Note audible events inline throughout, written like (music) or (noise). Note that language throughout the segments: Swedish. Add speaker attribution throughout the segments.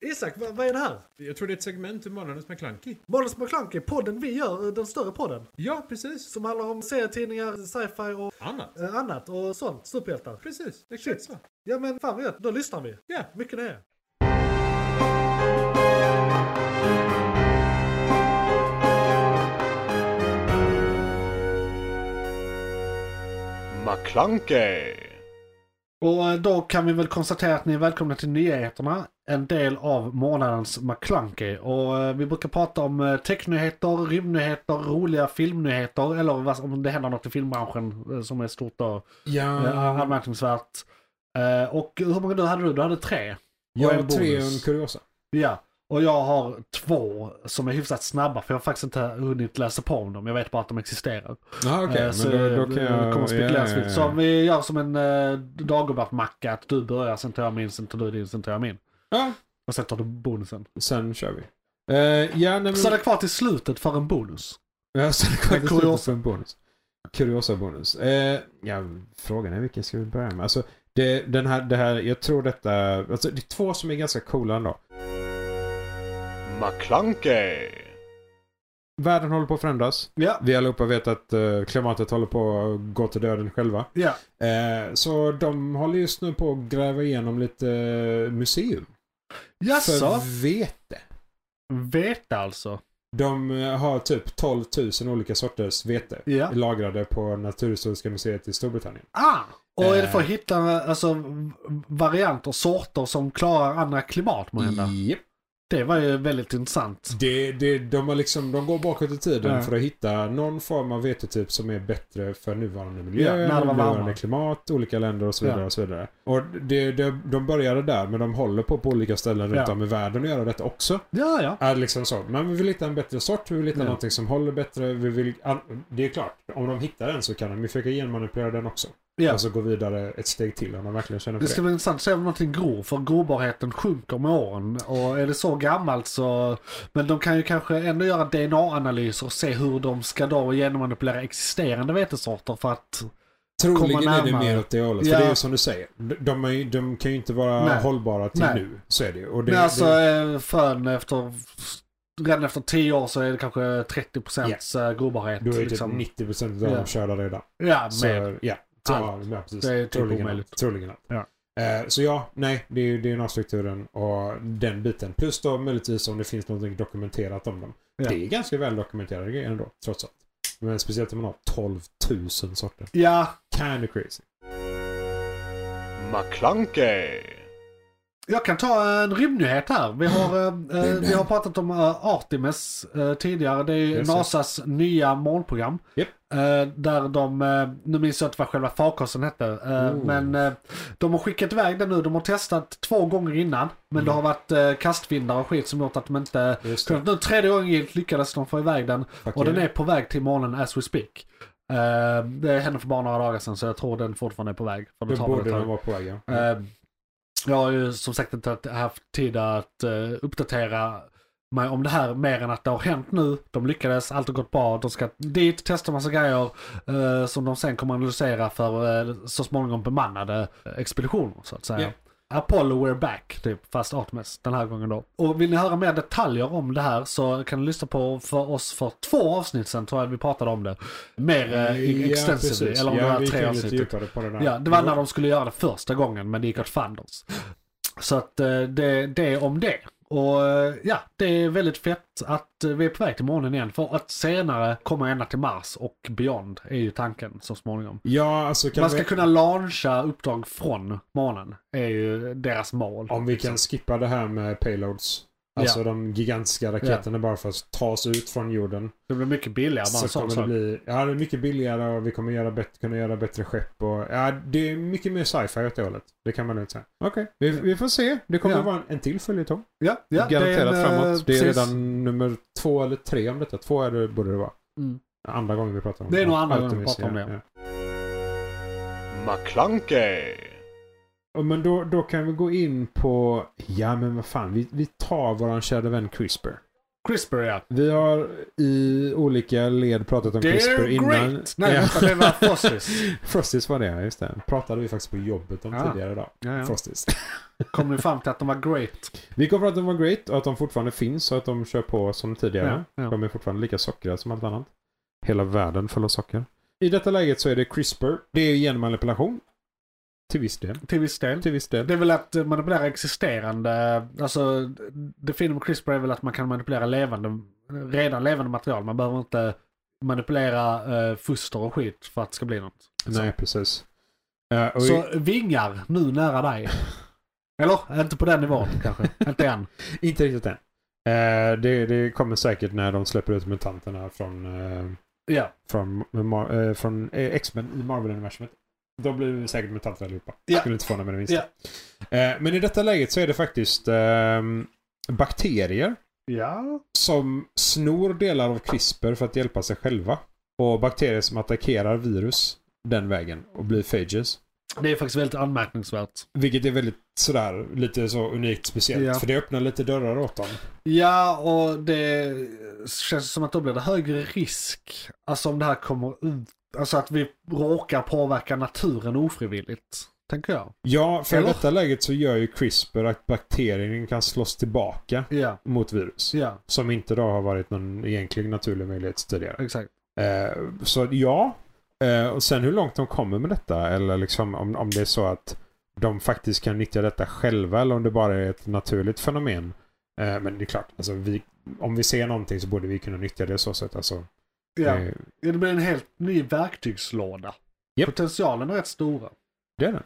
Speaker 1: Isak, vad, vad är det här?
Speaker 2: Jag tror det är ett segment ur Månadens McKlunky.
Speaker 1: Månadens McKlunky, podden vi gör, eh, den större podden.
Speaker 2: Ja, precis.
Speaker 1: Som handlar om serietidningar, sci-fi och
Speaker 2: Annat.
Speaker 1: eh, annat och sånt. Superhjältar.
Speaker 2: Precis, exakt så.
Speaker 1: Ja men fan vad gött, då lyssnar vi.
Speaker 2: Ja,
Speaker 1: Mycket nöje.
Speaker 3: McClunkey!
Speaker 1: Och eh, då kan vi väl konstatera att ni är välkomna till nyheterna. En del av månadens McClunky. Och eh, vi brukar prata om eh, technyheter, rymdnyheter, roliga filmnyheter. Eller vad, om det händer något i filmbranschen eh, som är stort och eh,
Speaker 4: Ja,
Speaker 1: anmärkningsvärt. Eh, Och hur många du hade du? Du hade tre.
Speaker 4: jag
Speaker 1: och
Speaker 4: har
Speaker 1: en
Speaker 4: tre och
Speaker 1: bonus.
Speaker 4: en kuriosa.
Speaker 1: Ja, och jag har två som är hyfsat snabba för jag har faktiskt inte hunnit läsa på om dem. Jag vet bara att de existerar.
Speaker 4: Ja, okej.
Speaker 1: Eh,
Speaker 4: men då, då kan
Speaker 1: eh,
Speaker 4: jag...
Speaker 1: kommer spekulera
Speaker 4: ja,
Speaker 1: fritt.
Speaker 4: ja, ja.
Speaker 1: Så om vi gör som en eh, Dagobert-macka, att du börjar, sen tar jag min, sen tar du din, sen tar jag min.
Speaker 4: Ja,
Speaker 1: Och sen tar du bonusen.
Speaker 4: sen kör vi. Eh, ja, nej men...
Speaker 1: Stanna kvar till slutet för en bonus.
Speaker 4: Ja, sen kommer det
Speaker 1: Kuriosa.
Speaker 4: kuriosa. en bonus. Kuriosa bonus. Eh, ja, frågan är vilken ska vi börja med? Alltså, det, den här, det här, jag tror detta... Alltså, det är två som är ganska coola ändå.
Speaker 3: McClunkey!
Speaker 4: Världen håller på att förändras.
Speaker 1: Ja,
Speaker 4: Vi allihopa vet att eh, klimatet håller på att gå till döden själva.
Speaker 1: ja.
Speaker 4: Eh, så de håller just nu på att gräva igenom lite eh, museum.
Speaker 1: Jaså?
Speaker 4: För vete.
Speaker 1: Veta alltså.
Speaker 4: De eh, har typ 12 000 olika sorters vete
Speaker 1: Ja.
Speaker 4: lagrade på Naturhistoriska museet i Storbritannien.
Speaker 1: Ah! Och är det för att
Speaker 4: Eh.
Speaker 1: hitta alltså, v- varianter, sorter som klarar andra klimat måhända?
Speaker 4: Japp.
Speaker 1: Det var ju väldigt intressant.
Speaker 4: Det, det, de, har liksom, de går bakåt i tiden
Speaker 1: Ja.
Speaker 4: för att hitta någon form av vetetyp som är bättre för nuvarande miljö,
Speaker 1: Ja, när det var varmare.
Speaker 4: nuvarande klimat, olika länder och så vidare.
Speaker 1: Ja.
Speaker 4: Och så vidare. Och det, det, de började där men de håller på på olika ställen runt
Speaker 1: Ja.
Speaker 4: om i världen att göra detta också.
Speaker 1: Ja, ja.
Speaker 4: Är liksom så. Men vi vill hitta en bättre sort, vi vill hitta
Speaker 1: Ja.
Speaker 4: någonting som håller bättre. Vi vill, an- det är klart, om de hittar den så kan de ju försöka genmanipulera den också.
Speaker 1: ja.
Speaker 4: Och så gå vidare ett steg till om de verkligen känner för
Speaker 1: Det
Speaker 4: det.
Speaker 1: ska bli intressant att se om någonting gror, för grobarheten sjunker med åren. Och är det så gammalt så... Men de kan ju kanske ändå göra DNA-analyser och se hur de ska då genommanipulera existerande vetesorter för att...
Speaker 4: Troligen
Speaker 1: komma
Speaker 4: är det
Speaker 1: närmare.
Speaker 4: mer åt det hållet.
Speaker 1: Ja.
Speaker 4: För det är ju som du säger. De, de, är, ju- de kan ju inte vara
Speaker 1: Nej.
Speaker 4: hållbara till
Speaker 1: Nej.
Speaker 4: nu. Så är det ju. Och det,
Speaker 1: Men alltså
Speaker 4: det,
Speaker 1: eh, frön efter... Redan efter 10 år så är det kanske 30% yeah. grobarhet.
Speaker 4: då är det
Speaker 1: liksom.
Speaker 4: typ 90% av dem
Speaker 1: Ja. körda
Speaker 4: körda redan.
Speaker 1: Ja,
Speaker 4: Så,
Speaker 1: men...
Speaker 4: ja. Ja, ja, precis.
Speaker 1: Det är typ
Speaker 4: troligen
Speaker 1: omöjligt.
Speaker 4: allt. Troligen allt.
Speaker 1: Ja.
Speaker 4: Eh, så ja, nej. Det är ju DNA-strukturen och den biten. Plus då möjligtvis om det finns någonting dokumenterat om dem.
Speaker 1: Ja.
Speaker 4: Det är ganska väl dokumenterade grejer ändå, trots allt. Men speciellt om man har 12 000 sorter.
Speaker 1: Ja,
Speaker 4: Kind of crazy.
Speaker 3: McClunkey!
Speaker 1: Jag kan ta en rymdnyhet här. Vi har, eh, eh, vi har pratat om eh, Artemis eh, tidigare. Det är ju
Speaker 4: Yes, yes.
Speaker 1: NASAs nya månprogram.
Speaker 4: Japp.
Speaker 1: Eh, där de, eh, nu minns jag inte vad själva farkosten hette. Eh,
Speaker 4: Oh.
Speaker 1: Men eh, de har skickat iväg den nu. De har testat två gånger innan. Men
Speaker 4: Mm.
Speaker 1: det har varit eh, kastvindar och skit som gjort att de inte...
Speaker 4: Just
Speaker 1: Så
Speaker 4: det.
Speaker 1: nu tredje gången gillt lyckades de få iväg den.
Speaker 4: Fuck
Speaker 1: Och den
Speaker 4: yeah.
Speaker 1: är på väg till månen as we speak. Eh, det hände för bara några dagar sedan så jag tror den fortfarande är på väg. För det
Speaker 4: Då
Speaker 1: tar väl ett
Speaker 4: borde
Speaker 1: tag.
Speaker 4: den vara på väg, ja.
Speaker 1: Eh, Jag har ju som sagt inte haft- haft tid att eh, uppdatera mig om det här mer än att det har hänt nu. De lyckades, allt har gått bra. De ska dit, testa massa grejer eh, som de sen kommer analysera för eh, så småningom bemannade expeditioner så att säga.
Speaker 4: Ja.
Speaker 1: Apollo we're back, typ, fast Artemis den här gången då. Och vill ni höra mer detaljer om det här så kan ni lyssna på för oss för två avsnitt sen tror jag vi pratade om det. Mer eh, extensively,
Speaker 4: precis.
Speaker 1: eller om
Speaker 4: ja,
Speaker 1: det var
Speaker 4: vi typ
Speaker 1: tre
Speaker 4: gick in
Speaker 1: avsnitt.
Speaker 4: Lite djupare på den här.
Speaker 1: Ja, det var när de skulle göra det första gången men det gick åt fanders. Så att eh, det, det är om det. Och eh, ja, det är väldigt fett att eh, vi är på väg till månen igen för att senare komma ända till Mars och beyond är ju tanken så småningom.
Speaker 4: Ja, alltså kan
Speaker 1: Man ska
Speaker 4: vi,
Speaker 1: kunna launcha uppdrag från månen är ju deras mål.
Speaker 4: om vi kan skippa det här med payloads. Alltså
Speaker 1: Ja.
Speaker 4: de gigantiska raketerna bara för att ta sig ut från jorden.
Speaker 1: Det blir mycket billigare bara en
Speaker 4: så
Speaker 1: sån
Speaker 4: kommer det
Speaker 1: sak.
Speaker 4: bli, ja det är mycket billigare och vi kommer göra bättre, kunna göra bättre skepp och, ja det är mycket mer sci-fi åt det hållet. Det kan man lugnt säga. Okej, vi, vi får se. Det kommer
Speaker 1: Ja.
Speaker 4: att vara en, en till följetong.
Speaker 1: Ja, ja, det är en,
Speaker 4: Garanterat
Speaker 1: eh,
Speaker 4: framåt. Det är
Speaker 1: precis.
Speaker 4: redan nummer två eller tre om detta. Två är det, borde det vara.
Speaker 1: Mm.
Speaker 4: Andra gången vi pratar om
Speaker 1: Det är nog andra gången vi
Speaker 4: Artemis,
Speaker 1: pratar om
Speaker 4: ja,
Speaker 1: det.
Speaker 4: ja.
Speaker 3: McClunkey!
Speaker 4: Ja, Men då, då kan vi gå in på... Ja, men vad fan. Vi, vi tar våran kära vän CRISPR.
Speaker 1: CRISPR ja.
Speaker 4: Vi har i olika led pratat om
Speaker 1: Det
Speaker 4: CRISPR
Speaker 1: är
Speaker 4: innan.
Speaker 1: great! Nej,
Speaker 4: ja.
Speaker 1: vänta, det var Fossis.
Speaker 4: (laughs) Frosties var det, ja, just det. Pratade vi faktiskt på jobbet om
Speaker 1: Ja.
Speaker 4: tidigare idag.
Speaker 1: Ah.
Speaker 4: (laughs)
Speaker 1: Ja, ja.
Speaker 4: Frosties.
Speaker 1: Kom ni fram till att de var great?
Speaker 4: Vi kom fram till att de var great och att de fortfarande finns och att de kör på som tidigare.
Speaker 1: Ja, ja.
Speaker 4: De är fortfarande lika sockrade som allt annat. Hela världen full av socker. I detta läget så är det CRISPR. Det är genmanipulation. Till viss del.
Speaker 1: Till viss del.
Speaker 4: Till viss del.
Speaker 1: Det är väl att eh, manipulera existerande, alltså det fina med CRISPR är väl att man kan manipulera levande, redan levande material. Man behöver inte manipulera eh, foster och skit för att det ska bli något.
Speaker 4: Nej, precis. Eh, och
Speaker 1: Så vingar, nu nära
Speaker 4: (laughs)
Speaker 1: dig. Eller? Inte på den nivån kanske. Inte än.
Speaker 4: Inte riktigt än. Eh, det, det kommer säkert när de släpper ut mutanterna från, eh,
Speaker 1: Ja.
Speaker 4: från, Mar- eh, från eh, X-Men i Marvel-universumet. Då blir vi säkert mutanter allihopa.
Speaker 1: Ja.
Speaker 4: Skulle inte förvåna mig det minsta. Eh, men i detta läget så är det faktiskt eh, bakterier
Speaker 1: Ja.
Speaker 4: som snor delar av CRISPR för att hjälpa sig själva. Och bakterier som attackerar virus den vägen och blir phages.
Speaker 1: Det är faktiskt väldigt anmärkningsvärt.
Speaker 4: Vilket är väldigt sådär lite så unikt speciellt.
Speaker 1: Ja.
Speaker 4: För det öppnar lite dörrar åt dem.
Speaker 1: Ja, och det känns som att då blir det högre risk. Alltså om det här kommer ut. Alltså att vi råkar påverka naturen ofrivilligt. Tänker jag.
Speaker 4: Ja, för i
Speaker 1: Eller?
Speaker 4: detta läget så gör ju CRISPR att bakterien kan slås tillbaka
Speaker 1: Ja.
Speaker 4: mot virus.
Speaker 1: Ja,
Speaker 4: Som inte då har varit någon egentligen naturlig möjlighet tidigare.
Speaker 1: exakt.
Speaker 4: Eh, så ja, eh, och sen hur långt de kommer med detta eller liksom om, om det är så att de faktiskt kan nyttja detta själva eller om det bara är ett naturligt fenomen. Eh, men det är klart, alltså vi, om vi ser någonting så borde vi kunna nyttja det så sätt. Alltså,
Speaker 1: Ja.
Speaker 4: eh,
Speaker 1: Det blir en helt ny verktygslåda.
Speaker 4: Japp.
Speaker 1: Potentialen är rätt stora.
Speaker 4: det är det.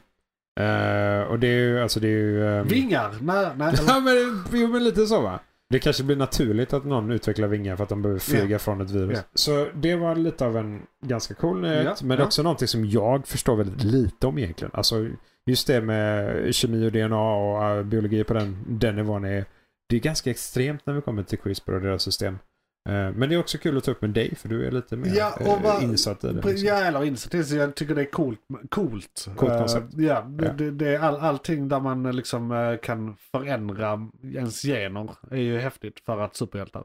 Speaker 4: Eh, och det är ju, alltså det är ju... ehm,
Speaker 1: Vingar? Nej, nej. eller-
Speaker 4: (laughs) Ja men, jo, men lite så va? Det kanske blir naturligt att någon utvecklar vingar för att de behöver flyga från ett virus.
Speaker 1: Ja.
Speaker 4: Så det var lite av en ganska cool nyhet.
Speaker 1: Ja,
Speaker 4: men det är
Speaker 1: ja.
Speaker 4: också någonting som jag förstår väldigt lite om egentligen. Alltså just det med kemi och DNA och äh, biologi på den, den nivån är... Det är ganska extremt när vi kommer till CRISPR och deras system. Eh, Men det är också kul att ta upp med dig för du är lite mer
Speaker 1: Ja, och
Speaker 4: eh,
Speaker 1: vad-
Speaker 4: insatt i det.
Speaker 1: Pre-
Speaker 4: liksom.
Speaker 1: Ja, eller initiativ. Så Jag tycker det är coolt. Coolt,
Speaker 4: Coolt koncept.
Speaker 1: Eh, ja, det,
Speaker 4: Ja.
Speaker 1: Det, det är all, allting där man eh, liksom eh, kan förändra ens gener är ju häftigt för att superhjältar.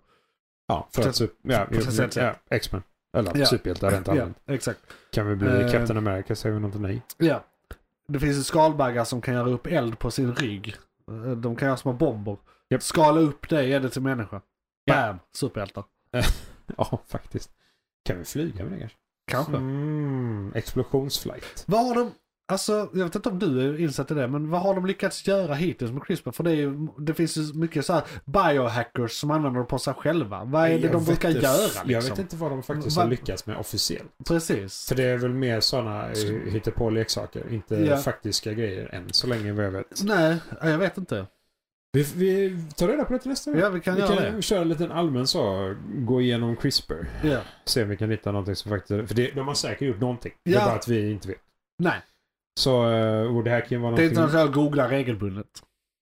Speaker 4: Ja, för att,
Speaker 1: Potent-
Speaker 4: sup- ja, jo,
Speaker 1: potentiellt
Speaker 4: ja, X-Men. Eller
Speaker 1: Ja.
Speaker 4: superhjältar rent
Speaker 1: Ja,
Speaker 4: allmänt.
Speaker 1: exakt.
Speaker 4: Kan vi bli
Speaker 1: Eh.
Speaker 4: Captain America säger vi någonting nej.
Speaker 1: Ja. Det finns ju skalbaggar som kan göra upp eld på sin rygg. Eh, De kan göra små bomber.
Speaker 4: Japp.
Speaker 1: Skala upp det, ge det till människa.
Speaker 4: Ja.
Speaker 1: Bam! Superhjältar.
Speaker 4: Ja, faktiskt. Kan vi flyga med det kanske?
Speaker 1: Kanske.
Speaker 4: Mm, explosionsflight.
Speaker 1: Vad har de, alltså jag vet inte om du är insatt i det, men vad har de lyckats göra hittills med CRISPR? För det, är, ju- det finns ju mycket så här biohackers som använder det på sig själva. Vad är det
Speaker 4: Jag
Speaker 1: de
Speaker 4: vet
Speaker 1: brukar
Speaker 4: inte-
Speaker 1: göra
Speaker 4: Jag
Speaker 1: liksom?
Speaker 4: vet inte vad de faktiskt
Speaker 1: Va-
Speaker 4: har lyckats med officiellt.
Speaker 1: Precis.
Speaker 4: För det är väl mer sådana hittepå-leksaker, inte
Speaker 1: Ja.
Speaker 4: faktiska grejer än så länge vad jag vet.
Speaker 1: Nej, jag vet inte.
Speaker 4: Vi, vi tar reda på det till nästa gång.
Speaker 1: Ja, vi kan
Speaker 4: vi
Speaker 1: göra
Speaker 4: kan köra en liten allmän så, gå igenom CRISPR.
Speaker 1: det. Ja.
Speaker 4: Se om vi kan hitta någonting som faktiskt... För det, de har säkert gjort någonting. Det
Speaker 1: Ja.
Speaker 4: är bara att vi inte vet.
Speaker 1: Nej,
Speaker 4: Så, eh, och det här kan ju vara
Speaker 1: det är
Speaker 4: någonting...
Speaker 1: inte något jag googlar regelbundet.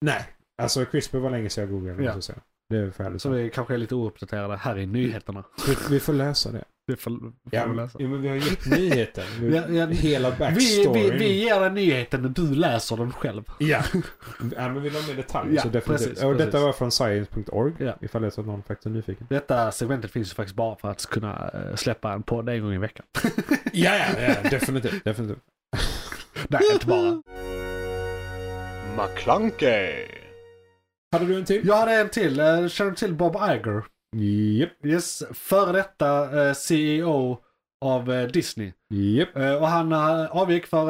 Speaker 4: Nej, alltså CRISPR var länge sedan jag googlade.
Speaker 1: Ja.
Speaker 4: måste jag säga. Det är färdigt.
Speaker 1: Så vi kanske är lite ouppdaterade här i nyheterna.
Speaker 4: Vi, vi får läsa det.
Speaker 1: Det får, får
Speaker 4: Ja,
Speaker 1: vi
Speaker 4: men,
Speaker 1: läsa.
Speaker 4: ja, men vi har gett nyheten. Vi,
Speaker 1: Ja, ja.
Speaker 4: Hela
Speaker 1: Vi,
Speaker 4: backstoryn.
Speaker 1: vi, vi ger dig nyheten och du läser den själv.
Speaker 4: Ja. ja, men vill du ha mer detaljer
Speaker 1: Ja,
Speaker 4: så definitivt.
Speaker 1: precis,
Speaker 4: och
Speaker 1: precis.
Speaker 4: detta var från science.org.
Speaker 1: Ja.
Speaker 4: Ifall det är så att någon faktiskt är nyfiken.
Speaker 1: Detta segmentet finns ju faktiskt bara för att kunna eh, släppa en podd en gång i veckan.
Speaker 4: Ja, ja, ja definitivt. definitivt.
Speaker 1: Nej, inte bara.
Speaker 3: McClunkey.
Speaker 4: Hade du en till?
Speaker 1: Jag hade en till. Eh, Känner du till Bob Iger?
Speaker 4: Japp,
Speaker 1: Yes, före detta eh, CEO av eh, Disney.
Speaker 4: japp.
Speaker 1: Eh, Och han eh, avgick för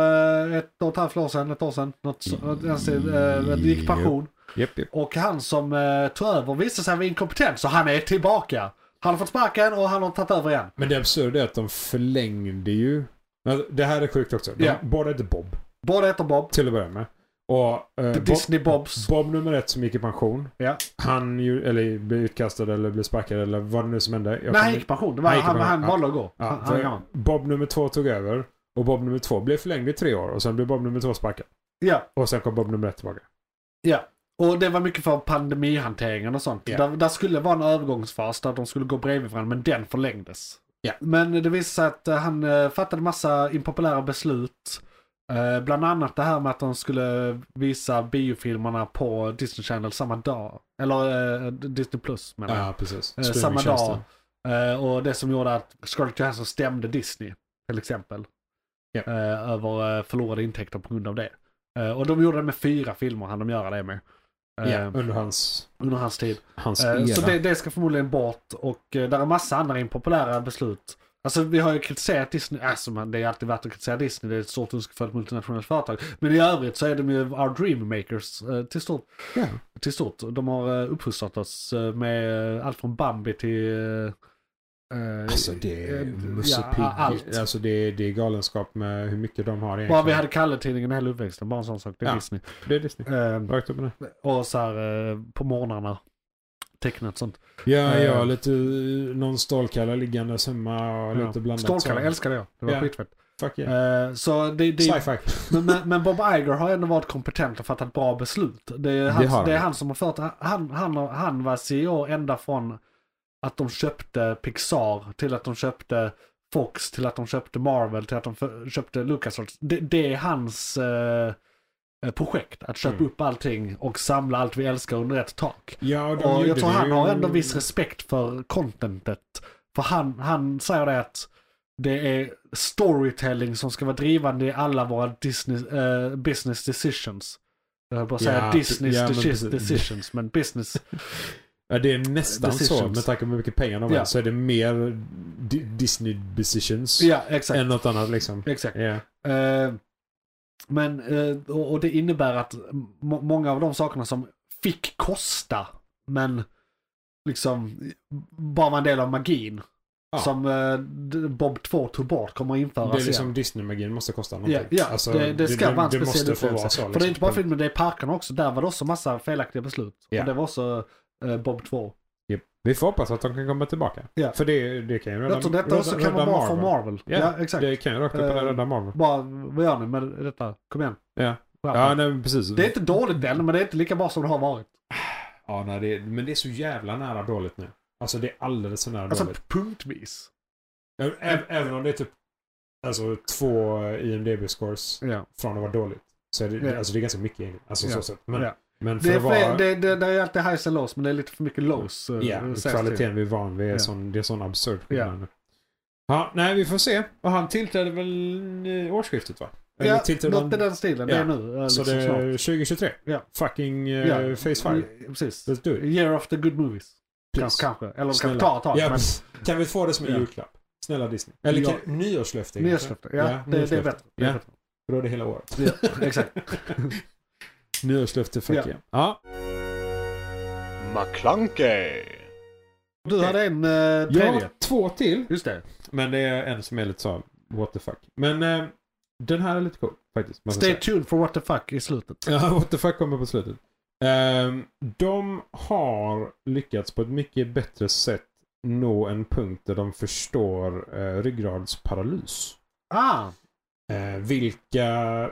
Speaker 1: eh, ett och ett halvt år sedan, ett år sedan. Något, så- något, i den stilen, eh, gick i pension.
Speaker 4: Japp, japp.
Speaker 1: Och han som eh, tog över visade sig vara inkompetent, så han är tillbaka. Han har fått sparken och han har tagit över igen.
Speaker 4: Men det absurda är att de förlängde ju. Men Det här är sjukt också. De,
Speaker 1: Ja.
Speaker 4: Båda hette Bob.
Speaker 1: Båda heter Bob.
Speaker 4: Till att börja med. Och, eh,
Speaker 1: The
Speaker 4: Bob-
Speaker 1: Disney Bobs.
Speaker 4: Bob nummer ett som gick i pension.
Speaker 1: Ja.
Speaker 4: Han ju, eller blev utkastad eller blev sparkad eller vad det nu som hände. Jag
Speaker 1: Nej,
Speaker 4: kommer-
Speaker 1: han gick i pension. Det var,
Speaker 4: Han gick i
Speaker 1: han,
Speaker 4: pension,
Speaker 1: han
Speaker 4: ja.
Speaker 1: valde att gå.
Speaker 4: Ja,
Speaker 1: Han, han
Speaker 4: för
Speaker 1: är gammal.
Speaker 4: Bob nummer två tog över och Bob nummer två blev förlängd i tre år och sen blev Bob nummer två sparkad.
Speaker 1: ja.
Speaker 4: Och sen kom Bob nummer ett tillbaka.
Speaker 1: Ja, och det var mycket för pandemihanteringen och sånt.
Speaker 4: Ja.
Speaker 1: Där, där skulle vara en övergångsfas där de skulle gå bredvid varandra, men den förlängdes.
Speaker 4: Ja.
Speaker 1: Men det visade sig att eh, han eh, fattade massa impopulära beslut. Eh, bland annat det här med att de skulle visa biofilmerna på Disney Channel samma dag. Eller eh, Disney Plus menar jag.
Speaker 4: Ja, precis.
Speaker 1: Eh, samma dag.
Speaker 4: Streamingtjänsten.
Speaker 1: Eh, och det som gjorde att Scarlett Johansson stämde Disney till exempel.
Speaker 4: Ja.
Speaker 1: Eh, över eh, förlorade intäkter på grund av det. Eh, och de gjorde det med fyra filmer han de göra det med. Eh,
Speaker 4: Ja, under hans,
Speaker 1: Under hans tid.
Speaker 4: hans
Speaker 1: Eh,
Speaker 4: era.
Speaker 1: Så det, det ska förmodligen bort och eh, där är massa andra impopulära beslut. Alltså vi har ju kritiserat Disney, alltså man, det är alltid värt att kritisera Disney, det är ett stort önskefullt multinationellt företag. Men i övrigt så är de ju our dream makers eh, till stort.
Speaker 4: Ja.
Speaker 1: Till stort. De har eh, uppfostrat oss eh, med eh, allt från Bambi till... eh, eh,
Speaker 4: Alltså det är
Speaker 1: eh,
Speaker 4: Musse
Speaker 1: ja,
Speaker 4: Pigg.
Speaker 1: allt.
Speaker 4: Alltså det är, det är galenskap med hur mycket de har
Speaker 1: Bara
Speaker 4: egentligen.
Speaker 1: vi hade Kalle-tidningen hela uppväxten, bara en sån sak. Det är
Speaker 4: Ja.
Speaker 1: Disney.
Speaker 4: Det är Disney.
Speaker 1: Eh,
Speaker 4: Rakt upp och ner.
Speaker 1: och så här eh, på morgnarna, tecknat sånt.
Speaker 4: Ja,
Speaker 1: Eh.
Speaker 4: ja, lite eh, någon stålkalle liggande hemma och lite blandat.
Speaker 1: Stålkalle
Speaker 4: så.
Speaker 1: älskade jag, det var
Speaker 4: Ja.
Speaker 1: skitfett.
Speaker 4: Fuck yeah.
Speaker 1: Eh, så det, det,
Speaker 4: Sci-fi.
Speaker 1: Men- Men, men Bob Iger har ändå varit kompetent och fattat bra beslut. Det är han,
Speaker 4: Det har
Speaker 1: det är
Speaker 4: han.
Speaker 1: han som har fört, han, han, har- han var CEO ända från att de köpte Pixar till att de köpte Fox till att de köpte Marvel till att de för, köpte LucasArts. Det, det är hans eh, eh, projekt att köpa
Speaker 4: Mm.
Speaker 1: upp allting och samla allt vi älskar under ett tak.
Speaker 4: Ja, och de
Speaker 1: Och jag
Speaker 4: gjorde
Speaker 1: tror
Speaker 4: det
Speaker 1: han
Speaker 4: ju-
Speaker 1: har ändå viss respekt för contentet. För han, han säger det att det är storytelling som ska vara drivande i alla våra Disney, eh, business decisions. Jag höll på att säga
Speaker 4: Ja,
Speaker 1: Disneys
Speaker 4: ja, men
Speaker 1: deci-
Speaker 4: precis.
Speaker 1: decisions, men
Speaker 4: (laughs)
Speaker 1: business.
Speaker 4: Ja, det är nästan så.
Speaker 1: Decisions.
Speaker 4: Med tanke på hur mycket pengar de har
Speaker 1: Ja.
Speaker 4: så är det mer Di- Disney decisions
Speaker 1: ja, exakt.
Speaker 4: än något annat liksom.
Speaker 1: exakt.
Speaker 4: Ja.
Speaker 1: Eh, men, eh, och, och det innebär att må- många av de sakerna som fick kosta, men liksom bara var en del av magin.
Speaker 4: Ja.
Speaker 1: Som eh, d- Bob 2 tog bort kommer att införas
Speaker 4: Det är
Speaker 1: igen.
Speaker 4: liksom Disney-magin måste kosta
Speaker 1: alltså, Ja,
Speaker 4: någonting.
Speaker 1: ja
Speaker 4: Alltså,
Speaker 1: det, det ska vara en
Speaker 4: det
Speaker 1: speciell
Speaker 4: måste få vara så.
Speaker 1: upplevelse.
Speaker 4: Liksom.
Speaker 1: För det är inte bara filmen, det är parkerna också. Där var det också massa felaktiga beslut.
Speaker 4: Ja.
Speaker 1: Och det var också eh, Bob 2.
Speaker 4: Japp. Vi får hoppas att de kan komma tillbaka.
Speaker 1: Ja.
Speaker 4: För det, det kan ju rädda
Speaker 1: Jag tror detta
Speaker 4: rädda-
Speaker 1: också kan vara
Speaker 4: rädda
Speaker 1: bra för Marvel. Ja,
Speaker 4: Ja,
Speaker 1: exakt.
Speaker 4: Det kan ju rakt upp och
Speaker 1: Eh,
Speaker 4: ner rädda Marvel.
Speaker 1: Bara, vad gör ni med detta? Kom igen.
Speaker 4: Ja.
Speaker 1: Skärp
Speaker 4: Ja,
Speaker 1: er.
Speaker 4: nej, men precis.
Speaker 1: Det är inte dåligt än, men det är inte lika bra som det har varit.
Speaker 4: Ja, nej, det, men det är så jävla nära dåligt nu. Alltså det är alldeles för nära
Speaker 1: Alltså
Speaker 4: dåligt.
Speaker 1: punktvis.
Speaker 4: Ä- ä- även om det är typ alltså, två IMDB-scores
Speaker 1: Ja.
Speaker 4: från att vara dåligt. Så är det,
Speaker 1: Ja.
Speaker 4: alltså, det är ganska mycket egentligen. Alltså,
Speaker 1: Ja.
Speaker 4: så sett. Men,
Speaker 1: Ja.
Speaker 4: men för
Speaker 1: Det, är
Speaker 4: att vara...
Speaker 1: fler, det, det, det är alltid highs and lows, men det är lite för mycket lows. eh,
Speaker 4: Ja,
Speaker 1: sägs det.
Speaker 4: kvaliteten vi är van vid. Är
Speaker 1: Ja.
Speaker 4: sån, det är sån absurd
Speaker 1: Ja.
Speaker 4: skillnad nu. Ja, nej, vi får se. Och han tillträdde väl i årsskiftet, va?
Speaker 1: Ja,
Speaker 4: tillträdde han-
Speaker 1: något i den stilen. Det är
Speaker 4: Ja.
Speaker 1: nu. eh,
Speaker 4: Så
Speaker 1: Liksom
Speaker 4: det är
Speaker 1: snart.
Speaker 4: 2023.
Speaker 1: Ja.
Speaker 4: Fucking eh,
Speaker 1: Ja.
Speaker 4: Phase 5.
Speaker 1: Precis.
Speaker 4: Let's do it.
Speaker 1: Year of the good movies.
Speaker 4: Please.
Speaker 1: Kanske, kanske. Eller de
Speaker 4: Snälla.
Speaker 1: kanske tar ett tag.
Speaker 4: Ja,
Speaker 1: men-
Speaker 4: Kan vi få det som en
Speaker 1: Ja.
Speaker 4: julklapp? Snälla Disney. Eller
Speaker 1: Ja.
Speaker 4: kan, nyårslöfte. kanske?
Speaker 1: Nyårslöfte, ja. det, det är
Speaker 4: nyårslöfte.
Speaker 1: bättre. Det är
Speaker 4: Ja.
Speaker 1: bättre.
Speaker 4: För Då är det hela året.
Speaker 1: Ja, exakt.
Speaker 4: Nyårslöfte, fuck
Speaker 1: Ja.
Speaker 4: yeah. Ja.
Speaker 3: McClunkey.
Speaker 1: Du hade en eh,
Speaker 4: Jag
Speaker 1: tredje.
Speaker 4: har två till.
Speaker 1: Just det.
Speaker 4: Men det är en som är lite så, what the fuck. Men eh, den här är lite cool faktiskt. måste jag
Speaker 1: Stay
Speaker 4: säga.
Speaker 1: tuned for what the fuck i slutet.
Speaker 4: Ja, (laughs) what the fuck kommer på slutet. Ehm, de har lyckats på ett mycket bättre sätt nå en punkt där de förstår eh, ryggradsparalys.
Speaker 1: Ah,
Speaker 4: Eh, vilka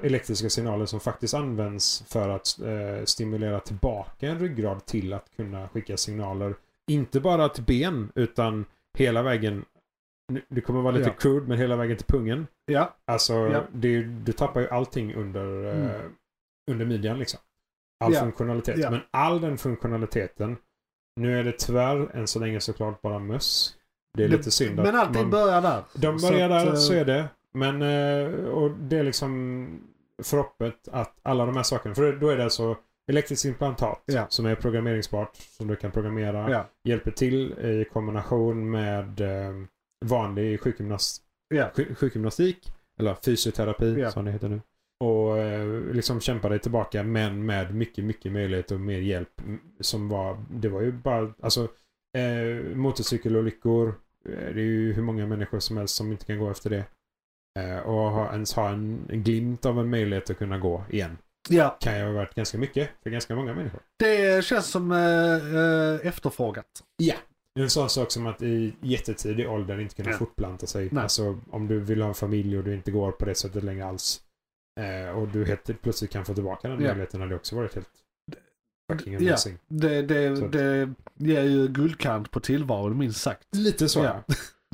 Speaker 4: elektriska signaler som faktiskt används för att eh, stimulera tillbaka en ryggrad till att kunna skicka signaler. Inte bara till ben utan hela vägen. nu- Det kommer vara lite
Speaker 1: Ja.
Speaker 4: crude men hela vägen till pungen.
Speaker 1: ja.
Speaker 4: Alltså
Speaker 1: Ja. Mm.
Speaker 4: det, du tappar ju allting under, eh, under midjan liksom. All
Speaker 1: Ja.
Speaker 4: funktionalitet.
Speaker 1: Ja.
Speaker 4: Men all den funktionaliteten. Nu är det tyvärr än så länge såklart bara möss. Det är lite synd att
Speaker 1: Men allting
Speaker 4: man-
Speaker 1: börjar där.
Speaker 4: de
Speaker 1: Så
Speaker 4: börjar
Speaker 1: att,
Speaker 4: där,
Speaker 1: eh,
Speaker 4: så är det. Men eh, och det är liksom förhoppet att alla de här sakerna. För då är det alltså elektriskt implantat
Speaker 1: Ja.
Speaker 4: som är programmeringsbart. Som du kan programmera.
Speaker 1: Ja.
Speaker 4: Hjälper till i kombination med eh, vanlig sjukgymnast,
Speaker 1: Ja.
Speaker 4: sjuk- sjukgymnastik. Eller fysioterapi
Speaker 1: Ja.
Speaker 4: som det heter nu. Och eh, liksom kämpa dig tillbaka men med mycket, mycket möjlighet och mer hjälp. mm, Som var, det var ju bara, alltså eh, motorcykelolyckor. eh, Det är ju hur många människor som helst som inte kan gå efter det. Eh, och ha, ens ha en, en glimt av en möjlighet att kunna gå igen.
Speaker 1: Ja,
Speaker 4: Kan ju ha varit ganska mycket för ganska många människor.
Speaker 1: det känns som eh, eh, efterfrågat.
Speaker 4: En sån sak som att i jättetidig ålder inte kunna
Speaker 1: Ja.
Speaker 4: fortplanta sig.
Speaker 1: Nej.
Speaker 4: Alltså om du vill ha en familj och du inte går på det sättet längre alls. Eh, och du helt plötsligt kan få tillbaka den
Speaker 1: Ja.
Speaker 4: möjligheten hade också varit helt fucking
Speaker 1: Ja.
Speaker 4: amazing.
Speaker 1: Det,
Speaker 4: Så
Speaker 1: det,
Speaker 4: att-
Speaker 1: det ger ju guldkant på tillvaron minst sagt.
Speaker 4: Lite så.
Speaker 1: Ja.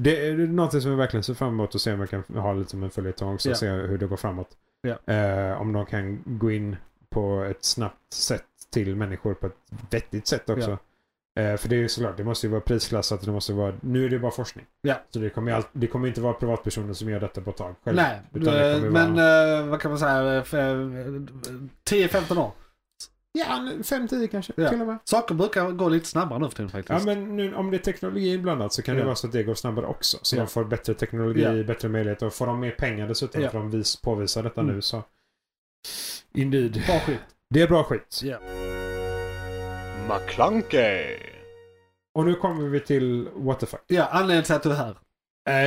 Speaker 4: Det är någonting som jag verkligen ser fram emot och se om jag kan ha lite som en följetong också.
Speaker 1: Ja.
Speaker 4: Se hur det går framåt.
Speaker 1: Ja.
Speaker 4: Eh, om de kan gå in på ett snabbt sätt till människor på ett vettigt sätt också. Eh, för det är ju såklart, det måste ju vara prisklassat. Det måste vara, nu är det bara forskning.
Speaker 1: Ja.
Speaker 4: Så det kommer, ju all, det kommer inte vara privatpersoner som gör detta på ett tag själv.
Speaker 1: Nej,
Speaker 4: utan det
Speaker 1: eh,
Speaker 4: kommer
Speaker 1: men
Speaker 4: vara-
Speaker 1: eh, vad kan man säga? eh, f- eh, 10-15 år.
Speaker 4: Ja, 5-10 kanske
Speaker 1: Ja.
Speaker 4: till och med.
Speaker 1: Saker brukar gå lite snabbare nu för tiden faktiskt.
Speaker 4: Ja, men nu, om det är teknologi inblandat så kan det
Speaker 1: Ja.
Speaker 4: vara så att det går snabbare också. Så
Speaker 1: Ja.
Speaker 4: de får bättre teknologi,
Speaker 1: Ja.
Speaker 4: bättre möjligheter och får de mer pengar dessutom
Speaker 1: Ja.
Speaker 4: för de vis, påvisar detta
Speaker 1: Mm.
Speaker 4: nu så... Indeed.
Speaker 1: Bra skit.
Speaker 4: Det är bra skit.
Speaker 1: Ja.
Speaker 3: McClunkey.
Speaker 4: Och nu kommer vi till what the fuck.
Speaker 1: Ja, anledningen till att du är här.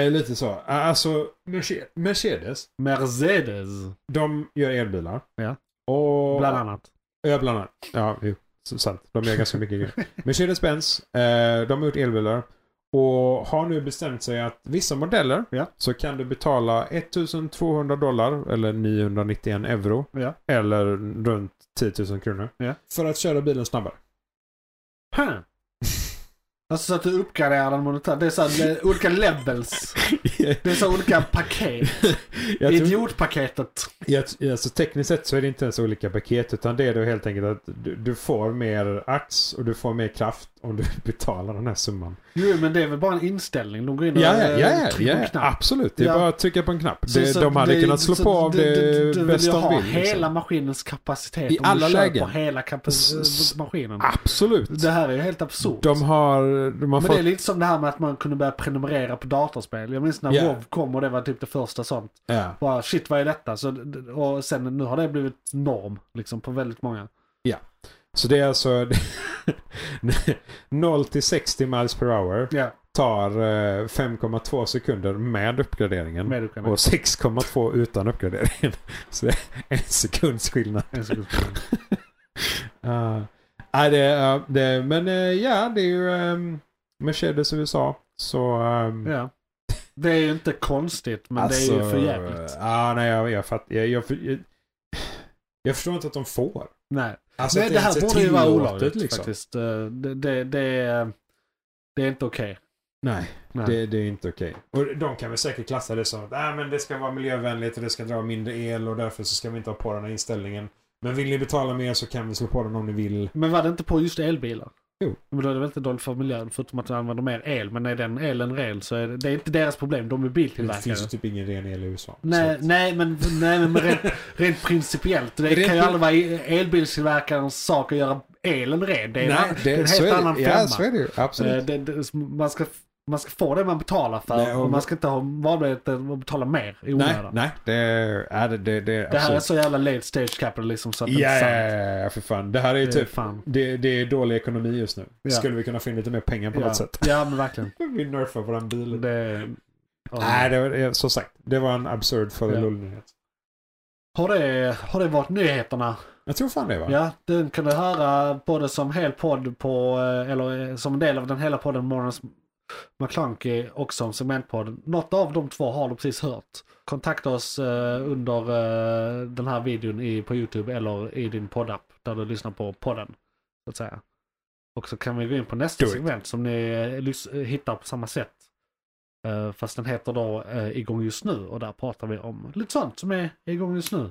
Speaker 4: Eh, lite så. Eh, Alltså, Merce- Mercedes,
Speaker 1: Mercedes.
Speaker 4: de gör elbilar.
Speaker 1: Ja.
Speaker 4: Och...
Speaker 1: Bland annat.
Speaker 4: Ja, bland annat. Ja, jo, så sant. De gör ganska mycket grejer. Mercedes-Benz, eh, de har gjort elbilar. Och har nu bestämt sig att vissa modeller
Speaker 1: Ja.
Speaker 4: så kan du betala 1200 dollar eller 991 euro.
Speaker 1: Ja.
Speaker 4: Eller runt 10 000 kronor.
Speaker 1: Ja.
Speaker 4: För att köra bilen snabbare.
Speaker 1: Huh. Alltså så att du uppgraderar den monetärt. Det är så här, eh, olika levels. (laughs) Det är så här olika paket.
Speaker 4: jag tror,
Speaker 1: Idiotpaketet.
Speaker 4: jag, alltså, tekniskt sett så är det inte ens olika paket utan det är då helt enkelt att du, du får mer ax och du får mer kraft om du (laughs) betalar den här summan.
Speaker 1: Jo, men det är väl bara en inställning. De går in och
Speaker 4: Ja, ja,
Speaker 1: eh,
Speaker 4: ja,
Speaker 1: trycker
Speaker 4: ja,
Speaker 1: på
Speaker 4: ja.
Speaker 1: en knapp.
Speaker 4: absolut. Det är
Speaker 1: Ja.
Speaker 4: bara att trycka på en knapp.
Speaker 1: Så-
Speaker 4: det,
Speaker 1: så
Speaker 4: de hade
Speaker 1: det-
Speaker 4: kunnat slå
Speaker 1: så
Speaker 4: på av
Speaker 1: du- du-
Speaker 4: det,
Speaker 1: du vill ju
Speaker 4: bäst de
Speaker 1: ha
Speaker 4: vill.
Speaker 1: hela
Speaker 4: liksom.
Speaker 1: maskinens kapacitet.
Speaker 4: I
Speaker 1: om du
Speaker 4: alla
Speaker 1: kör
Speaker 4: lägen.
Speaker 1: på hela kapa-
Speaker 4: S- s-
Speaker 1: eh, maskinen.
Speaker 4: Absolut.
Speaker 1: Det här är ju helt absurt.
Speaker 4: De har, de har
Speaker 1: Mm. Men
Speaker 4: fått...
Speaker 1: det är lite som det här med att man kunde börja prenumerera på datorspel. Jag minns när
Speaker 4: Ja.
Speaker 1: WoW kom och det var typ det första sånt.
Speaker 4: Ja.
Speaker 1: Bara shit vad är detta? Så, och sen nu har det blivit norm liksom på väldigt många.
Speaker 4: Så det är alltså (laughs) 0 till 60 miles per hour
Speaker 1: Ja,
Speaker 4: tar eh, 5,2 sekunder med uppgraderingen.
Speaker 1: med du
Speaker 4: Och 6,2 utan uppgraderingen. (laughs) Så det är en sekunds skillnad.
Speaker 1: En sekund.
Speaker 4: Uh, nej, det, är- ja, det, men eh, ja, det är ju ehm, Mercedes USA. Så... ehm,
Speaker 1: Ja. Det är ju inte konstigt men det är ju för jävligt.
Speaker 4: Alltså, Ja, nej, jag, jag fattar. Jag, jag, jag, jag förstår inte att de får.
Speaker 1: Nej.
Speaker 4: Alltså,
Speaker 1: Nej,
Speaker 4: att
Speaker 1: det
Speaker 4: ens
Speaker 1: här
Speaker 4: är
Speaker 1: borde ju vara
Speaker 4: tillåtet, liksom.
Speaker 1: olagligt faktiskt. Eh, Det, det, det, är- det är inte okej.
Speaker 4: Nej,
Speaker 1: Nej.
Speaker 4: Det, det är inte okej. Och de kan väl säkert klassa det som att "Nej, men det ska vara miljövänligt och det ska dra mindre el och därför så ska vi inte ha på den här inställningen. Men vill ni betala mer så kan vi slå på den om ni vill.
Speaker 1: Men var det inte på just elbilar?
Speaker 4: Jo.
Speaker 1: Men då är det väl inte dåligt för miljön förutom att de använder mer el. Men är den elen ren så är det, det är inte deras problem. De är
Speaker 4: Det
Speaker 1: biltillverkare.
Speaker 4: finns ju typ ingen ren el i USA.
Speaker 1: Nej,
Speaker 4: Så att-
Speaker 1: nej, men, nej, men
Speaker 4: (laughs)
Speaker 1: rent, rent principiellt. Det
Speaker 4: Rent
Speaker 1: kan ju
Speaker 4: prin-
Speaker 1: aldrig vara elbilstillverkarens sak att göra elen ren. Det är, en, det, är en
Speaker 4: så
Speaker 1: helt
Speaker 4: det.
Speaker 1: annan
Speaker 4: Ja, så
Speaker 1: femma.
Speaker 4: är det ju. Absolut.
Speaker 1: Eh, det, det, man, ska, man ska få det man betalar för
Speaker 4: Nej, och-
Speaker 1: och man ska inte ha valmöjligheten att betala mer i
Speaker 4: nej,
Speaker 1: onödan.
Speaker 4: nej. Det, är det, det, det,
Speaker 1: Det här är
Speaker 4: absolut.
Speaker 1: så jävla late stage capitalism så att
Speaker 4: Ja,
Speaker 1: det
Speaker 4: ja,
Speaker 1: är sant.
Speaker 4: ja, ja, för fan. Det här är ju
Speaker 1: Det är
Speaker 4: typ
Speaker 1: fan.
Speaker 4: Det, det är dålig ekonomi just nu.
Speaker 1: Ja.
Speaker 4: Skulle vi kunna få in lite mer pengar på
Speaker 1: Ja.
Speaker 4: något sätt? (laughs)
Speaker 1: ja, men verkligen.
Speaker 4: Vi nerfar våran bil.
Speaker 1: Det är... ja.
Speaker 4: Nej, det var, eh, som sagt. Det var en absurd
Speaker 1: Ja.
Speaker 4: fadelull-nyhet.
Speaker 1: Har, det, har det varit nyheterna?
Speaker 4: Jag tror fan det va?
Speaker 1: Ja, den kan du höra både som hel podd på, eh, eller eh, som en del av den hela podden Morgonens McClunky och som segmentpodd. Något av de två har du precis hört. Kontakta oss eh, under eh, den här videon i, på YouTube eller i din poddapp där du lyssnar på podden. Så att säga. Och så kan vi gå in på nästa
Speaker 4: Do it.
Speaker 1: segment som ni eh, lys- eh, hittar på samma sätt. Eh, fast den heter då eh, Igång just nu och där pratar vi om lite sånt som är igång just nu.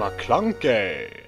Speaker 3: McClunkey.